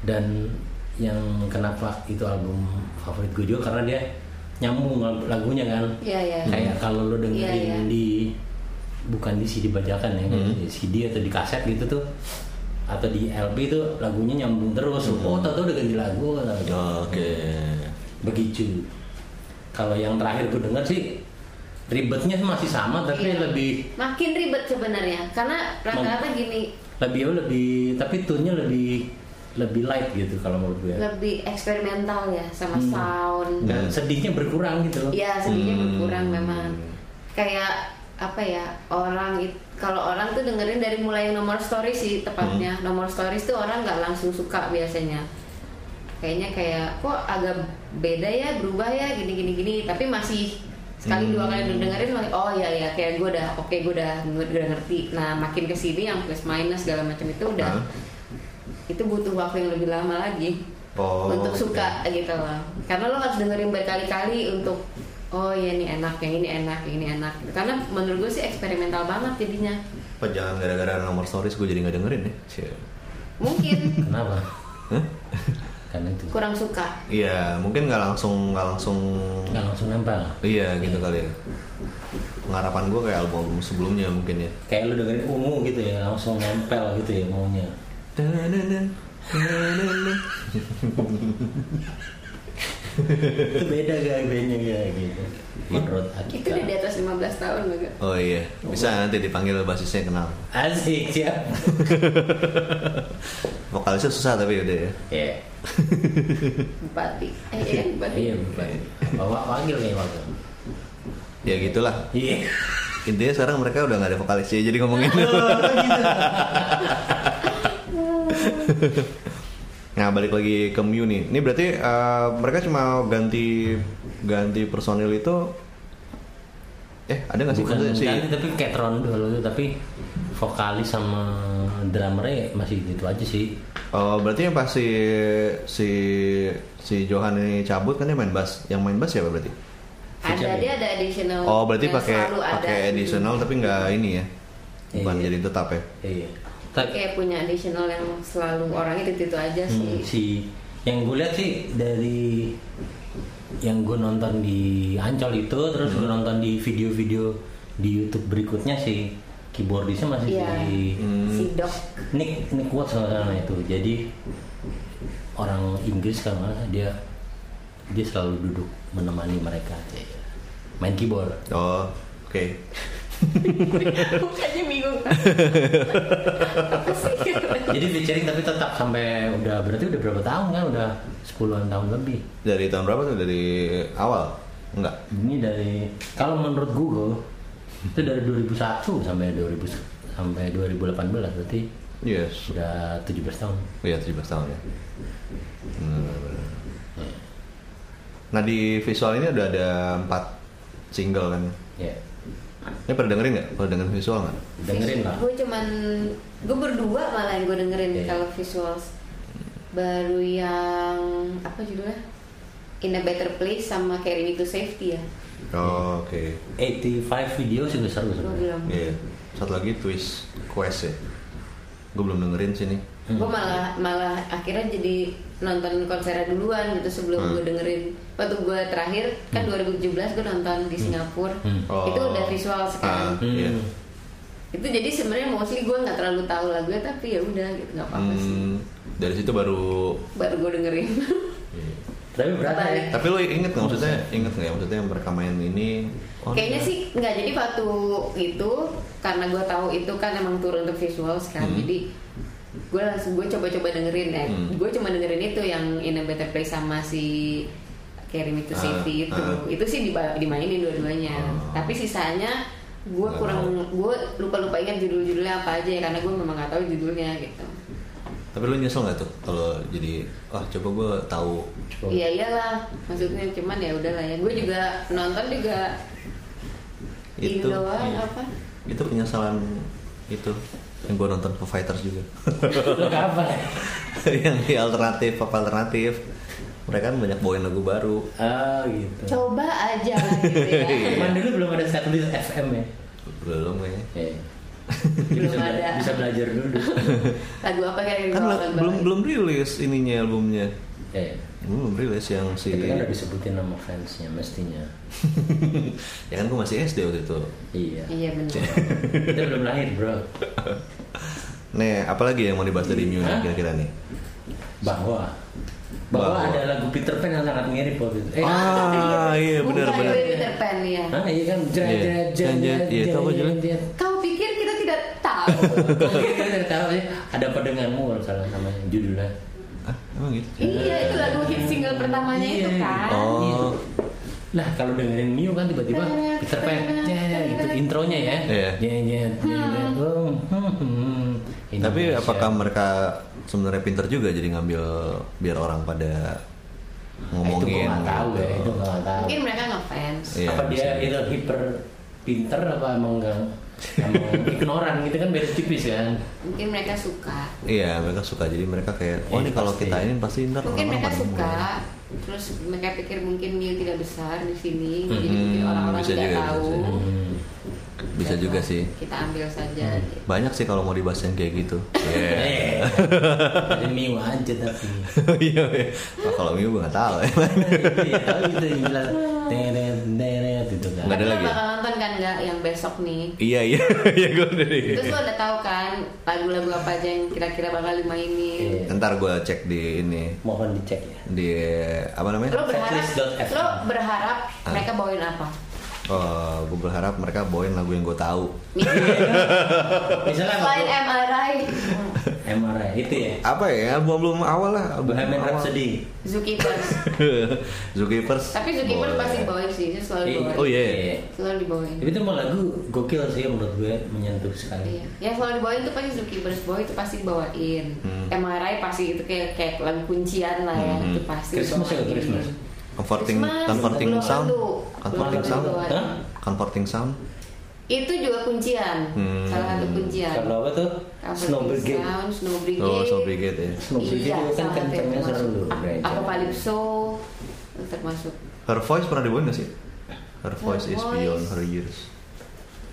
Speaker 4: dan yang kenapa itu album favorit gue juga karena dia nyambung lagunya kan
Speaker 1: Iya, iya.
Speaker 3: Hmm.
Speaker 4: kayak kalau lo dengerin
Speaker 1: Iya, iya.
Speaker 4: di bukan di CD bajakan ya, di CD atau di kaset gitu tuh atau di LP itu lagunya nyambung terus. Oh, tahu udah ganti lagu.
Speaker 3: Oke.
Speaker 4: Begitu. Kalau yang terakhir gue dengar sih ribetnya masih sama tapi
Speaker 1: Iya.
Speaker 4: lebih
Speaker 1: makin ribet sebenarnya karena rata-rata gini
Speaker 4: lebih lebih tapi tune-nya lebih lebih light gitu kalau menurut gue.
Speaker 3: Ya.
Speaker 1: lebih eksperimental ya sama sound
Speaker 4: Dan sedihnya berkurang gitu loh.
Speaker 1: ya sedihnya
Speaker 3: Hmm.
Speaker 1: berkurang memang kayak apa ya orang it- kalau orang tuh dengerin dari mulai nomor story sih tepatnya nomor stories tuh orang nggak langsung suka biasanya kayaknya kayak kok agak beda ya berubah ya gini gini gini tapi masih sekali dua kali udah dengerin masih, oh ya ya kayak gue udah oke gue udah gue udah ngerti nah makin kesini yang plus minus segala macam itu udah
Speaker 3: Hah?
Speaker 1: itu butuh waktu yang lebih lama lagi
Speaker 3: Oh,
Speaker 1: untuk
Speaker 3: oke.
Speaker 1: suka gitu loh karena lo harus dengerin berkali-kali untuk oh ya ini enak yang ini enak yang ini enak karena menurut gue sih eksperimental banget jadinya
Speaker 3: Apa jangan gara-gara nomor stories gue jadi nggak dengerin ya? Cie.
Speaker 1: mungkin
Speaker 4: Kenapa?
Speaker 3: Hah?
Speaker 4: Karena itu
Speaker 1: kurang suka
Speaker 3: Iya, mungkin nggak langsung nggak langsung
Speaker 4: nggak langsung nempel.
Speaker 3: Iya gitu kali ya. Pengharapan gue kayak album sebelumnya mungkin ya.
Speaker 4: Kayak lu dengerin ungu gitu ya, langsung nempel gitu ya maunya.
Speaker 3: Da-na-na, da-na-na.
Speaker 4: itu beda gak bandnya gak gitu. Menurut
Speaker 1: itu udah di
Speaker 4: Akika.
Speaker 1: atas 15 tahun loh Kak.
Speaker 3: Oh iya, bisa nanti dipanggil basisnya kenal.
Speaker 4: Asik siap.
Speaker 3: Vokalisnya susah tapi udah ya.
Speaker 4: Ya.
Speaker 1: bupati eh iya bupati
Speaker 4: Iya bukan. Bawa panggil nih waktu.
Speaker 3: Ya gitulah.
Speaker 4: Iya.
Speaker 3: Intinya sekarang mereka udah nggak ada vokalisnya jadi ngomongin.
Speaker 4: Oh, gitu.
Speaker 3: nah balik lagi ke Mew nih. Ini berarti eh, mereka cuma ganti ganti personil itu. Eh ada nggak sih
Speaker 4: Bukan
Speaker 3: Maksudnya si-
Speaker 4: ganti tapi kayak Tron dulu tuh, tapi vokalis sama drummernya masih gitu aja sih.
Speaker 3: Oh, berarti yang pas si si si Johan ini cabut kan dia main bass. Yang main bass siapa berarti?
Speaker 1: ada
Speaker 4: Feature
Speaker 1: dia ada additional
Speaker 3: Oh, berarti
Speaker 1: yang
Speaker 3: pakai
Speaker 1: selalu ada.
Speaker 3: pakai additional tapi nggak ini ya. Bukan
Speaker 4: Iya.
Speaker 3: jadi tetap ya.
Speaker 4: Iya.
Speaker 1: Dia
Speaker 4: Tapi
Speaker 1: kayak punya additional yang selalu orangnya itu itu aja
Speaker 4: Hmm,
Speaker 1: sih
Speaker 4: si yang gue lihat sih dari yang gue nonton di Ancol itu terus
Speaker 1: Hmm.
Speaker 4: gue nonton di video-video di YouTube berikutnya si keyboardisnya masih
Speaker 1: Iya.
Speaker 4: di
Speaker 1: si dok
Speaker 4: Nick Nick Watts kalau nggak salah itu jadi orang Inggris kan dia dia selalu duduk menemani mereka main keyboard
Speaker 3: Oh, oke.
Speaker 1: bukannya bingung apa sih
Speaker 4: jadi featuring tapi tetap sampai udah berarti udah berapa tahun kan udah 10-an tahun lebih
Speaker 3: Dari tahun berapa tuh? Dari awal? Enggak.
Speaker 4: Ini dari kalau menurut Google itu dari 2001 sampai 2000 sampai 2018 berarti
Speaker 3: Yes.
Speaker 4: sudah 17 tahun.
Speaker 3: Iya, 17 tahun ya. Hmm, benar-benar. Nah, di visual ini udah ada 4 single kan.
Speaker 4: Ya.
Speaker 3: Ini pernah dengerin nggak? Pernah dengerin visual nggak?
Speaker 4: Dengerin lah.
Speaker 1: gue cuman gue berdua malah yang gue dengerin
Speaker 4: Iya.
Speaker 1: kalau visuals baru yang apa judulnya In a Better Place sama Carry Me to Safety ya
Speaker 3: Oh, oke.
Speaker 4: 85 video sih udah seru
Speaker 1: gue
Speaker 4: sebenarnya.
Speaker 1: bilang
Speaker 3: Iya. Satu lagi twist quest ya. Gue belum dengerin sini.
Speaker 4: Hmm.
Speaker 1: gue malah malah akhirnya jadi nonton konsernya duluan gitu sebelum
Speaker 3: Hmm.
Speaker 1: gue dengerin waktu gue terakhir kan 2017 gue nonton di Singapura
Speaker 4: Hmm.
Speaker 1: itu udah visual
Speaker 3: Ah,
Speaker 1: sekarang
Speaker 3: iya.
Speaker 4: Hmm.
Speaker 1: itu jadi sebenarnya mostly gue nggak terlalu tahu lagunya tapi ya udah gitu nggak apa-apa sih
Speaker 3: Hmm, dari situ baru
Speaker 1: baru gue dengerin
Speaker 4: Tapi berapa ya?
Speaker 3: tapi lo inget nggak maksudnya inget nggak ya maksudnya yang mereka main ini oh,
Speaker 1: Kayaknya
Speaker 3: iya.
Speaker 1: sih nggak jadi waktu itu karena gue tahu itu kan emang turun untuk visual kan
Speaker 3: Hmm.
Speaker 1: jadi gue langsung gue coba-coba dengerin eh,
Speaker 3: Hmm.
Speaker 1: gue cuma dengerin itu yang In a Better Place sama si Carry Me to
Speaker 3: Ah,
Speaker 1: Safety itu
Speaker 3: ah.
Speaker 1: itu sih diba- dimainin dua-duanya
Speaker 3: Oh.
Speaker 1: tapi sisanya gue
Speaker 3: Nggak
Speaker 1: kurang gue lupa-lupa ingat judul-judulnya apa aja ya karena gue memang nggak tahu judulnya gitu
Speaker 3: tapi lo nyesel nggak tuh kalau jadi wah coba gue tahu
Speaker 4: Coba.
Speaker 1: iya iyalah maksudnya cuman ya udahlah ya gue juga nonton juga
Speaker 3: itu
Speaker 1: Indo doang
Speaker 3: iya.
Speaker 1: apa
Speaker 3: itu penyesalan itu yang gue nonton ke fighters juga
Speaker 4: Lo kapan? ya?
Speaker 3: yang di alternatif pop alternatif mereka kan banyak bawain lagu baru
Speaker 4: Ah gitu.
Speaker 1: coba aja gitu
Speaker 3: Iya.
Speaker 1: ya
Speaker 4: Cuman dulu belum ada satelit FM ya.
Speaker 3: belum ya
Speaker 4: Iya.
Speaker 1: Belum
Speaker 4: bisa, bela-
Speaker 1: ada.
Speaker 4: bisa belajar dulu.
Speaker 1: lagu apa kayak yang
Speaker 3: kan
Speaker 1: gue
Speaker 3: la-
Speaker 1: kangen
Speaker 3: belum
Speaker 1: banget?
Speaker 3: belum rilis ininya albumnya
Speaker 4: Iya.
Speaker 3: belum rilis yang si
Speaker 4: Tapi kan udah disebutin nama fansnya mestinya.
Speaker 3: ya kan gue masih SD waktu itu
Speaker 4: Iya.
Speaker 1: Iya benar.
Speaker 4: Kita belum lahir bro.
Speaker 3: nih apalagi yang mau dibahas dari Mew nih
Speaker 4: Hah?
Speaker 3: kira-kira nih
Speaker 4: Bahwa bahwa
Speaker 3: Bahwa.
Speaker 4: ada lagu Peter Pan yang sangat mirip waktu itu. Eh,
Speaker 3: ah iya
Speaker 1: Bukan
Speaker 3: benar-benar
Speaker 1: Baby Peter Pan, ya.
Speaker 4: Hah, iya kan jret
Speaker 3: Iya.
Speaker 4: jret jret
Speaker 3: Jan, jan.
Speaker 4: jret,
Speaker 3: Iya, itu apa,
Speaker 4: jret,
Speaker 3: Julen?
Speaker 4: jret.
Speaker 1: Kau pikir kita tidak tahu?
Speaker 4: Kita nggak tahu sih. ada apa denganmu kalau salah namanya judulnya
Speaker 3: ah emang gitu
Speaker 1: iya itu lagu hit single pertamanya itu
Speaker 4: Iya.
Speaker 1: kan.
Speaker 3: Oh.
Speaker 4: Nah kalau dengerin Mio kan tiba-tiba Peter Pan jret, gitu intronya ya
Speaker 3: Iya.
Speaker 4: Jret, jret, jret. Oh, hmm, hmm.
Speaker 3: Tapi
Speaker 4: Indonesia.
Speaker 3: apakah mereka sebenarnya pinter juga jadi ngambil biar orang pada
Speaker 4: Nah, Ah, itu gue
Speaker 3: ngomongin?
Speaker 4: nggak tahu ya
Speaker 3: gitu?
Speaker 4: itu gue nggak tahu
Speaker 1: Mungkin mereka ngefans.
Speaker 3: Iya,
Speaker 4: apa dia
Speaker 3: bisa.
Speaker 4: itu hiper pinter apa emang nggak emang ignoran gitu kan beda tipis kan
Speaker 1: Mungkin mereka suka.
Speaker 3: Iya, mereka suka jadi mereka kayak oh
Speaker 4: Iya,
Speaker 3: ini kalau
Speaker 4: pasti.
Speaker 3: kita ini pasti ntar
Speaker 1: Mungkin
Speaker 3: orang-orang
Speaker 1: mereka
Speaker 3: pada ngomongin.
Speaker 1: suka. Terus mereka pikir mungkin Mio tidak besar di sini, jadi
Speaker 3: Mhm,
Speaker 1: mungkin orang-orang
Speaker 3: bisa
Speaker 1: tidak
Speaker 3: juga, bisa
Speaker 1: tahu.
Speaker 3: juga.
Speaker 4: Hmm.
Speaker 3: Bisa
Speaker 1: Dan
Speaker 3: juga
Speaker 4: Iya.
Speaker 1: lah,
Speaker 3: sih. Mm-hmm.
Speaker 1: Kita ambil saja. gitu.
Speaker 3: Banyak sih kalau mau dibahas yang kayak gitu. Iya.
Speaker 4: Eh, ada Mio aja tapi
Speaker 3: Iya. iya. Wah, kalau Miu gue nggak tahu. ya.
Speaker 4: Iya, tahu itu yang bilang teret teret itu kan
Speaker 3: Nggak
Speaker 1: Tapi
Speaker 3: ada
Speaker 1: lo
Speaker 3: lagi ya?
Speaker 1: bakal nonton kan nggak yang besok nih?
Speaker 3: Iya iya. Iya gue dari.
Speaker 1: Terus lo udah tahu kan lagu-lagu apa aja yang kira-kira bakal dimainin?
Speaker 4: Iya.
Speaker 3: Ntar gue cek di ini
Speaker 4: mohon dicek ya
Speaker 3: di apa namanya?
Speaker 1: Lo berharap,
Speaker 4: Setlist.fm.
Speaker 1: lo berharap
Speaker 3: Ah.
Speaker 1: mereka bawain apa?
Speaker 3: Oh, gue berharap mereka bawain lagu yang gue tahu. Iya,
Speaker 4: misalnya
Speaker 1: Selain
Speaker 4: aku-
Speaker 1: MRI, Hmm.
Speaker 4: MRI itu ya
Speaker 3: Apa ya? Album belum awal lah. album
Speaker 4: Bohemian
Speaker 3: awal.
Speaker 4: Rhapsody
Speaker 1: Zookeepers.
Speaker 3: Zookeepers.
Speaker 1: Tapi Zookeepers
Speaker 3: Boleh.
Speaker 1: pasti dibawain sih, dia selalu
Speaker 4: Eh,
Speaker 1: dibawain.
Speaker 3: Oh, iya.
Speaker 1: Selalu dibawain.
Speaker 4: Tapi itu mau lagu gokil sih menurut gue menyentuh sekali.
Speaker 1: Iya. Ya selalu dibawain itu pasti Zookeepers boy itu pasti dibawain.
Speaker 3: Hmm.
Speaker 1: MRI pasti itu kayak kayak lagu kuncian lah ya, itu pasti.
Speaker 4: Christmas ya,
Speaker 1: dibawain.
Speaker 4: Christmas.
Speaker 3: Comforting,
Speaker 1: Christmas,
Speaker 3: comforting
Speaker 1: belum
Speaker 3: sound,
Speaker 1: tentu.
Speaker 3: comforting
Speaker 1: Belum
Speaker 3: sound,
Speaker 1: tentu dibawain.
Speaker 4: Hah?
Speaker 3: comforting sound.
Speaker 1: Itu juga kuncian,
Speaker 3: Hmm.
Speaker 1: salah satu kuncian.
Speaker 4: Kalau apa tuh?
Speaker 1: Comforting
Speaker 4: Snow Brigade.
Speaker 1: Iya. Sound, Snow Brigade.
Speaker 3: Oh, so brigade ya.
Speaker 4: Snow Brigade itu kan
Speaker 1: salah satu yang
Speaker 4: kencengnya seru
Speaker 1: termasuk.
Speaker 4: loh. Brigade.
Speaker 1: Apa Palipso termasuk
Speaker 3: Her voice pernah dibawain gak sih? Her voice is
Speaker 1: voice.
Speaker 3: beyond her years.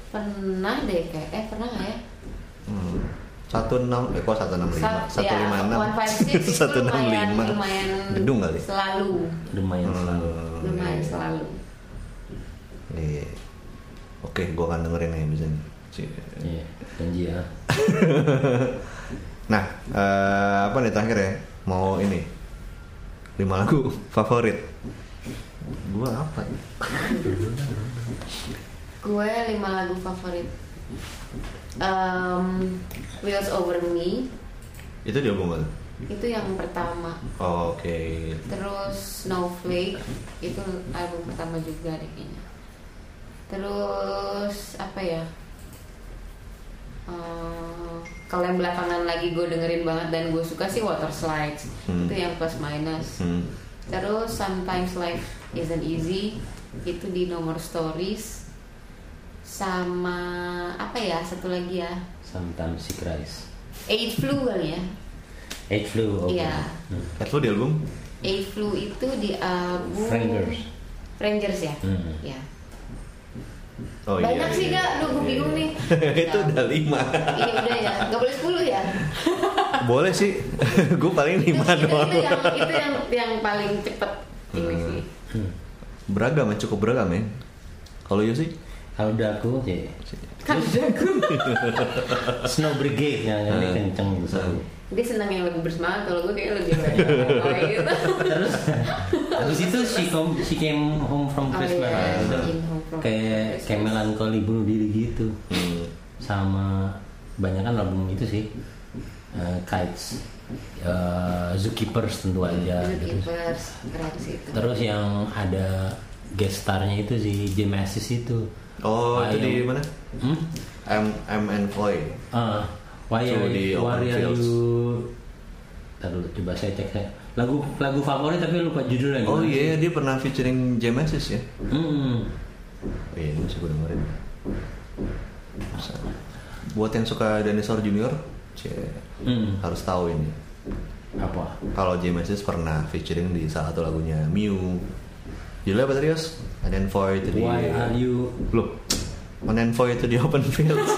Speaker 1: pernah deh kayak eh pernah nggak ya?
Speaker 3: Hmm. Satu enam, eh kok satu enam lima,
Speaker 1: Sa-
Speaker 3: satu
Speaker 1: ya,
Speaker 3: lima enam,
Speaker 1: 156 itu
Speaker 3: satu enam
Speaker 1: lumayan-
Speaker 3: lima.
Speaker 1: lumayan
Speaker 3: Gedung kali.
Speaker 1: Selalu,
Speaker 4: Lumayan selalu.
Speaker 3: Hmm,
Speaker 1: lumayan
Speaker 3: iya.
Speaker 1: selalu.
Speaker 3: Iya. Oke, gua akan dengerin nih bisa nih. Cie.
Speaker 4: Iya, janji ya.
Speaker 3: Nah, eh, apa nih terakhir ya? Mau ini lima lagu favorit. Gua apa? ya?
Speaker 1: Gue lima lagu favorit. Um, Wheels Over Me
Speaker 3: Itu di album mana?
Speaker 1: itu yang pertama.
Speaker 3: Oke.
Speaker 1: Terus Snowflake itu album pertama juga deh kayaknya. Terus apa ya? Eh, kalau yang belakangan lagi gue dengerin banget dan gue suka sih Water Slides
Speaker 3: Hmm.
Speaker 1: itu yang plus minus.
Speaker 3: Hmm.
Speaker 1: Terus Sometimes Life Isn't Easy itu di nomor stories sama apa ya satu lagi ya
Speaker 4: Sometimes she cries.
Speaker 1: Eight Flu kali ya.
Speaker 4: Eight flu. oke.
Speaker 1: Iya.
Speaker 4: Hmm.
Speaker 3: Ed, lu di album?
Speaker 1: Eight Flu itu di album
Speaker 4: Frangers.
Speaker 1: Frangers ya.
Speaker 4: Hmm.
Speaker 1: Ya.
Speaker 3: Oh
Speaker 1: Banyak sih
Speaker 3: iya.
Speaker 1: gak? Duh gue bingung nih
Speaker 3: itu udah lima.
Speaker 1: Iya udah ya, gak boleh 10 ya
Speaker 3: Boleh sih. gue paling
Speaker 1: itu,
Speaker 3: lima
Speaker 1: itu,
Speaker 3: doang.
Speaker 1: itu yang, itu yang, yang paling cepet ini
Speaker 3: Hmm.
Speaker 1: sih
Speaker 4: Hmm.
Speaker 3: Beragam ya, cukup beragam ya. Kalau you sih?
Speaker 4: Kalau udah aku, ya.
Speaker 1: Kan
Speaker 4: Snow Brigade yang yang ini
Speaker 3: Hmm.
Speaker 4: kenceng gitu.
Speaker 3: Hmm.
Speaker 1: dia senang yang lebih bersemangat Kalau gue kayaknya lebih kayak gitu
Speaker 4: Terus habis itu she come she came home from
Speaker 1: Oh,
Speaker 4: Christmas.
Speaker 1: iya,
Speaker 4: Itu
Speaker 1: she came home from
Speaker 4: kayak
Speaker 1: Christmas.
Speaker 4: kayak melankoli bunuh diri gitu.
Speaker 3: Hmm.
Speaker 4: Sama banyak kan album itu sih. Eh, kites, eh, zookeepers tentu aja. gitu.
Speaker 1: Zookeepers, keren sih itu
Speaker 4: Terus yang ada guest star-nya itu si Jim Assis itu.
Speaker 3: Oh,
Speaker 4: Why
Speaker 3: itu di
Speaker 4: you-
Speaker 3: mana?
Speaker 4: Hmm?
Speaker 3: M M and Foy.
Speaker 4: Ah, why
Speaker 3: So,
Speaker 4: are
Speaker 3: di open
Speaker 4: you, why are
Speaker 3: fields.
Speaker 4: you... Ntar dulu, coba saya cek saya. Lagu lagu favorit tapi lupa judulnya.
Speaker 3: Oh
Speaker 4: gimana
Speaker 3: iya,
Speaker 4: sih?
Speaker 3: dia pernah featuring Jamesis ya.
Speaker 4: Hmm.
Speaker 3: Oh, iya, ini bisa gue dengerin. Masa. Buat yang suka Dinosaur Junior, cie,
Speaker 4: Hmm.
Speaker 3: harus tahu ini.
Speaker 4: Apa?
Speaker 3: Kalau Jamesis pernah featuring di salah satu lagunya Mew. Judulnya apa tadi, Yos? And then Foy itu di
Speaker 4: Why are you
Speaker 3: Belum. On and Foy itu di Open Fields.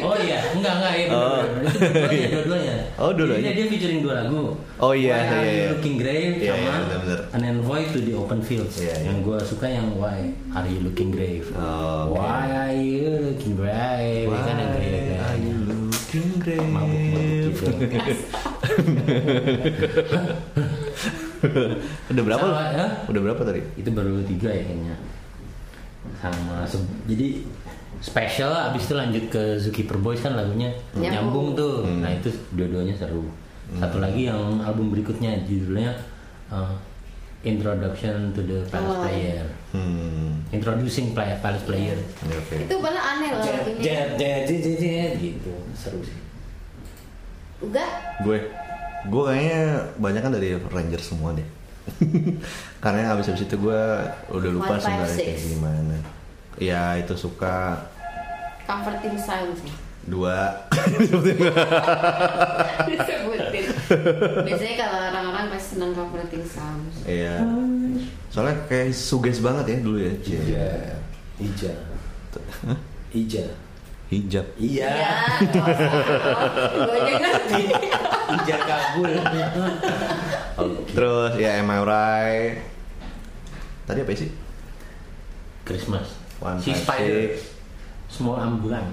Speaker 4: Oh iya, enggak enggak ya.
Speaker 3: Oh.
Speaker 4: Dua-duanya, dua-duanya.
Speaker 3: Oh, dua-duanya.
Speaker 4: Jadi dia featuring dua lagu.
Speaker 3: Oh, iya,
Speaker 4: Why Are
Speaker 3: iya,
Speaker 4: You
Speaker 3: iya.
Speaker 4: Looking Grave
Speaker 3: Iya,
Speaker 4: sama
Speaker 3: iya, benar-benar.
Speaker 4: An Envoy to the Open Fields.
Speaker 3: Iya, iya.
Speaker 4: Yang gue suka yang Why Are You Looking Grave.
Speaker 3: Oh, oke.
Speaker 4: Why Are You Looking Grave?
Speaker 3: Why
Speaker 4: Kan yang grave, kan.
Speaker 3: are you looking
Speaker 4: Mabuk-mabuk
Speaker 3: grave?
Speaker 4: gitu.
Speaker 3: Udah berapa
Speaker 4: Sama,
Speaker 3: lo?
Speaker 4: ya?
Speaker 3: Udah berapa tadi?
Speaker 4: itu baru tiga ya kayaknya sama se- jadi special lah, abis itu lanjut ke Zuki Boys kan lagunya
Speaker 1: Nyambung.
Speaker 4: nyambung tuh nah itu dua-duanya seru satu lagi yang album berikutnya judulnya uh, Introduction to the Palace
Speaker 1: Oh.
Speaker 4: Player
Speaker 3: Hmm.
Speaker 4: Introducing play, Palace Player
Speaker 3: ya, Oke.
Speaker 1: itu malah aneh loh
Speaker 4: Jet,
Speaker 1: lagunya
Speaker 4: jet, jet, jet, jet, jet, gitu seru sih
Speaker 1: enggak
Speaker 3: Gue gue kayaknya banyak kan dari Ranger semua deh. Karena abis abis itu gue udah
Speaker 1: One,
Speaker 3: lupa
Speaker 1: five,
Speaker 3: sebenarnya
Speaker 1: six.
Speaker 3: kayak gimana. Ya itu suka
Speaker 1: comforting sounds ya.
Speaker 3: dua
Speaker 1: disebutin biasanya kalau orang-orang pasti senang comforting sounds
Speaker 3: Iya. Soalnya kayak suges banget ya dulu ya.
Speaker 4: Iya.
Speaker 3: Cie.
Speaker 4: Ija Ija
Speaker 3: Hijab.
Speaker 4: Iya
Speaker 1: Ya, gue ngerti
Speaker 4: Ija kabul
Speaker 3: Terus ya Am I Right? Tadi apa sih?
Speaker 4: Christmas.
Speaker 3: One
Speaker 4: si
Speaker 3: Five
Speaker 4: Spider.
Speaker 3: Six.
Speaker 4: Small ambulan.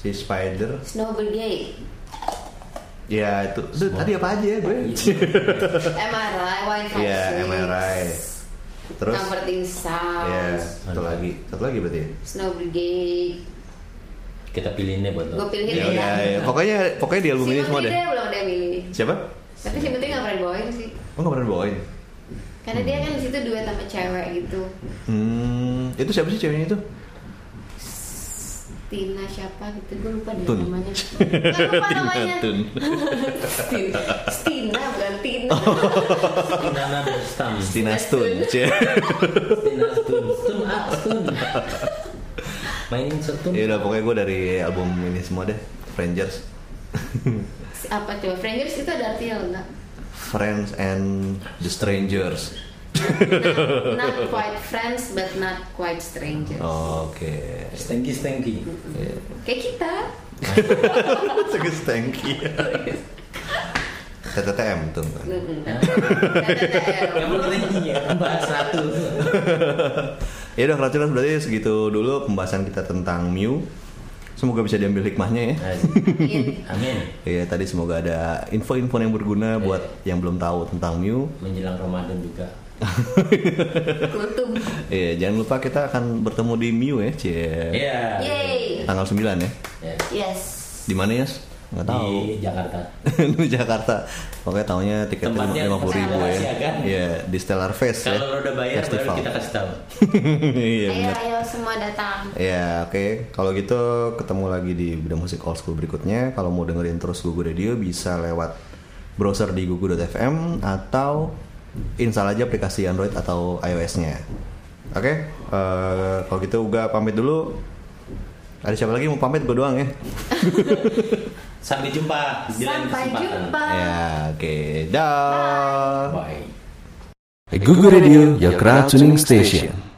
Speaker 3: Si Spider.
Speaker 1: Snow Brigade
Speaker 3: Ya itu. Duh,
Speaker 4: Semua. Iya.
Speaker 3: tadi apa aja ya gue?
Speaker 1: MRI Wi-Fi
Speaker 3: Iya, Am I Right? Terus
Speaker 1: comforting
Speaker 3: ya
Speaker 1: sounds
Speaker 3: satu lagi. Satu lagi berarti. ya?
Speaker 1: Snow Brigade
Speaker 4: Kita pilihin deh buat
Speaker 1: gue
Speaker 4: lo.
Speaker 1: pilihin
Speaker 3: Ya
Speaker 1: deh
Speaker 3: udah, ya.
Speaker 1: ya
Speaker 3: Pokoknya pokoknya di album
Speaker 1: si
Speaker 3: ini semua
Speaker 1: Menteri
Speaker 3: deh.
Speaker 1: dia belum ada yang milih
Speaker 3: Siapa?
Speaker 1: tapi si Menteri nggak pernah dibawain sih
Speaker 3: Oh nggak pernah bawain.
Speaker 1: karena dia kan di situ duet sama cewek gitu
Speaker 3: Hmm, itu siapa sih ceweknya itu?
Speaker 1: Tina siapa gitu gue lupa deh
Speaker 3: Tun.
Speaker 1: namanya Nggak lupa
Speaker 3: Tina
Speaker 1: namanya
Speaker 3: Tun.
Speaker 1: Stin- Stina bukan Tina
Speaker 3: Oh.
Speaker 4: Stinana Stam.
Speaker 3: Stina Stun. Cie.
Speaker 4: Stina Stun. Stun ah, Stun. Mainin setun.
Speaker 3: Ya udah pokoknya gue dari album ini semua deh. Rangers.
Speaker 1: apa coba Frangers itu ada artinya loh nggak
Speaker 3: Friends and the Strangers.
Speaker 1: not, not quite friends but not quite strangers
Speaker 3: Oh. Oke.
Speaker 4: Stenki Stenki.
Speaker 1: kayak kita
Speaker 3: Seges tanki. TTTM tuh. Iya.
Speaker 4: Yang penting ya bahas satu.
Speaker 3: Ya udah keracunan berarti segitu dulu pembahasan kita tentang Mew. Semoga bisa diambil hikmahnya ya.
Speaker 4: Amin.
Speaker 3: Iya tadi semoga ada info-info yang berguna buat yang belum tahu tentang Mew.
Speaker 4: Menjelang Ramadan juga.
Speaker 1: Kultum
Speaker 3: Iya jangan lupa kita akan bertemu di Mew ya, Cie.
Speaker 4: Iya.
Speaker 1: Yay
Speaker 3: Tanggal 9 ya.
Speaker 4: Ya.
Speaker 1: Yes
Speaker 3: Di mana ya? Nggak tahu.
Speaker 4: Di Jakarta.
Speaker 3: di Jakarta. Pokoknya tahunya tiket
Speaker 4: Tempatnya
Speaker 3: lima puluh ribu ya.
Speaker 4: rahasia, kan?
Speaker 3: Iya di Stellar Fest ya.
Speaker 4: Kalau lo udah bayar baru
Speaker 3: Festival.
Speaker 4: kita kasih tahu.
Speaker 3: Iya
Speaker 1: Ayo
Speaker 3: benar.
Speaker 1: ayo semua datang
Speaker 3: Ya oke, kalau gitu ketemu lagi di Bidang Musik Old School berikutnya. Kalau mau dengerin terus Gugu Radio bisa lewat browser di gugu.fm atau install aja aplikasi Android atau iOS-nya. Oke, eh, kalau gitu Uga pamit dulu. Ada siapa lagi mau pamit gue doang ya?
Speaker 4: Sampai jumpa di lain
Speaker 1: Sampai
Speaker 4: kesempatan.
Speaker 1: jumpa
Speaker 3: Ya oke, dah.
Speaker 4: Bye.
Speaker 2: Google Radio, your crowd tuning station.